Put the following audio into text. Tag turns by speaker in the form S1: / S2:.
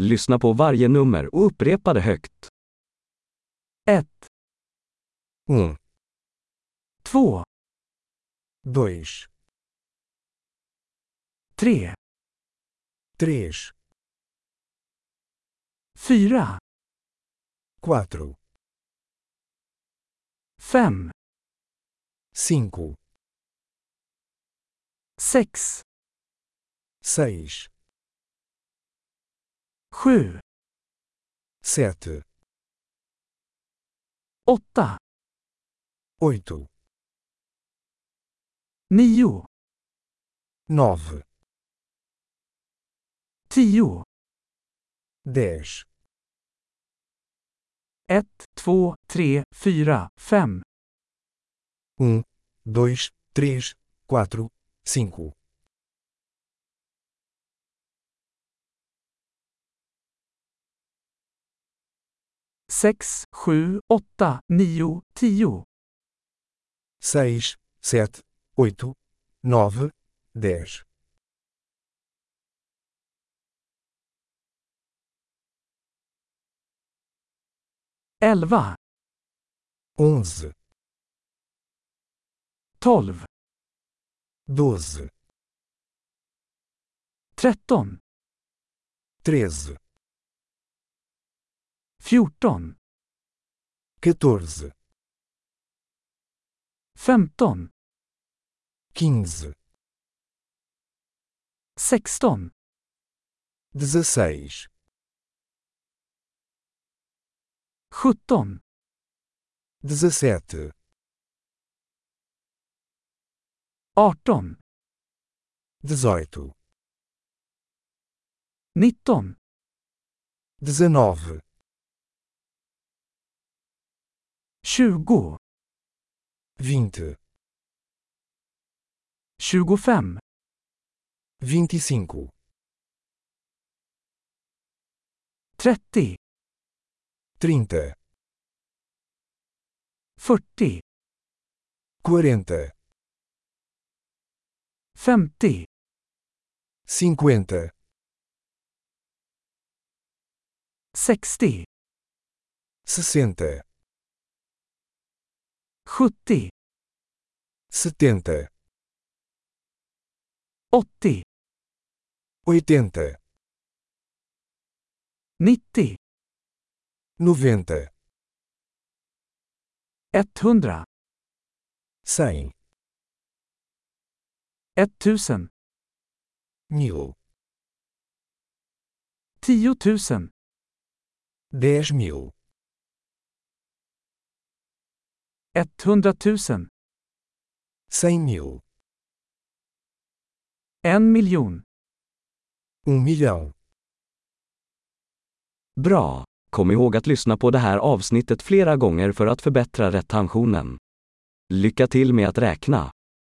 S1: Lyssna på varje nummer och upprepa det högt. 1,
S2: um,
S1: 2,
S2: dois,
S1: 3,
S2: três,
S1: 4,
S2: quatro,
S1: 5,
S2: cinco,
S1: 6,
S2: seis,
S1: 7,
S2: sete,
S1: 8,
S2: oito,
S1: 9,
S2: nove,
S1: 10,
S2: dez,
S1: 1, 2, 3, 4, 5,
S2: um, dois, três, quatro, cinco,
S1: 6, 7, 8, 9, 10,
S2: seis, sete, oito, nove, dez,
S1: 11,
S2: onze,
S1: 12,
S2: doze,
S1: 13,
S2: treze,
S1: 14,
S2: quatorze,
S1: 15,
S2: quinze,
S1: 16,
S2: dezesseis,
S1: 17,
S2: dezessete,
S1: 18,
S2: dezoito,
S1: 19,
S2: dezenove,
S1: 20,
S2: vinte,
S1: 25,
S2: vinte e cinco,
S1: 30,
S2: trinta,
S1: 40,
S2: quarenta,
S1: 50,
S2: cinquenta,
S1: 60,
S2: sessenta,
S1: 70,
S2: setenta,
S1: 80,
S2: oitenta,
S1: 90,
S2: noventa,
S1: 100,
S2: cem,
S1: 1000,
S2: mil,
S1: 10 000,
S2: dez mil,
S1: 100 000,
S2: cem mil,
S1: 1 miljon.
S2: um milhão.
S1: Bra! Kom ihåg att lyssna på det här avsnittet flera gånger för att förbättra retentionen. Lycka till med att räkna!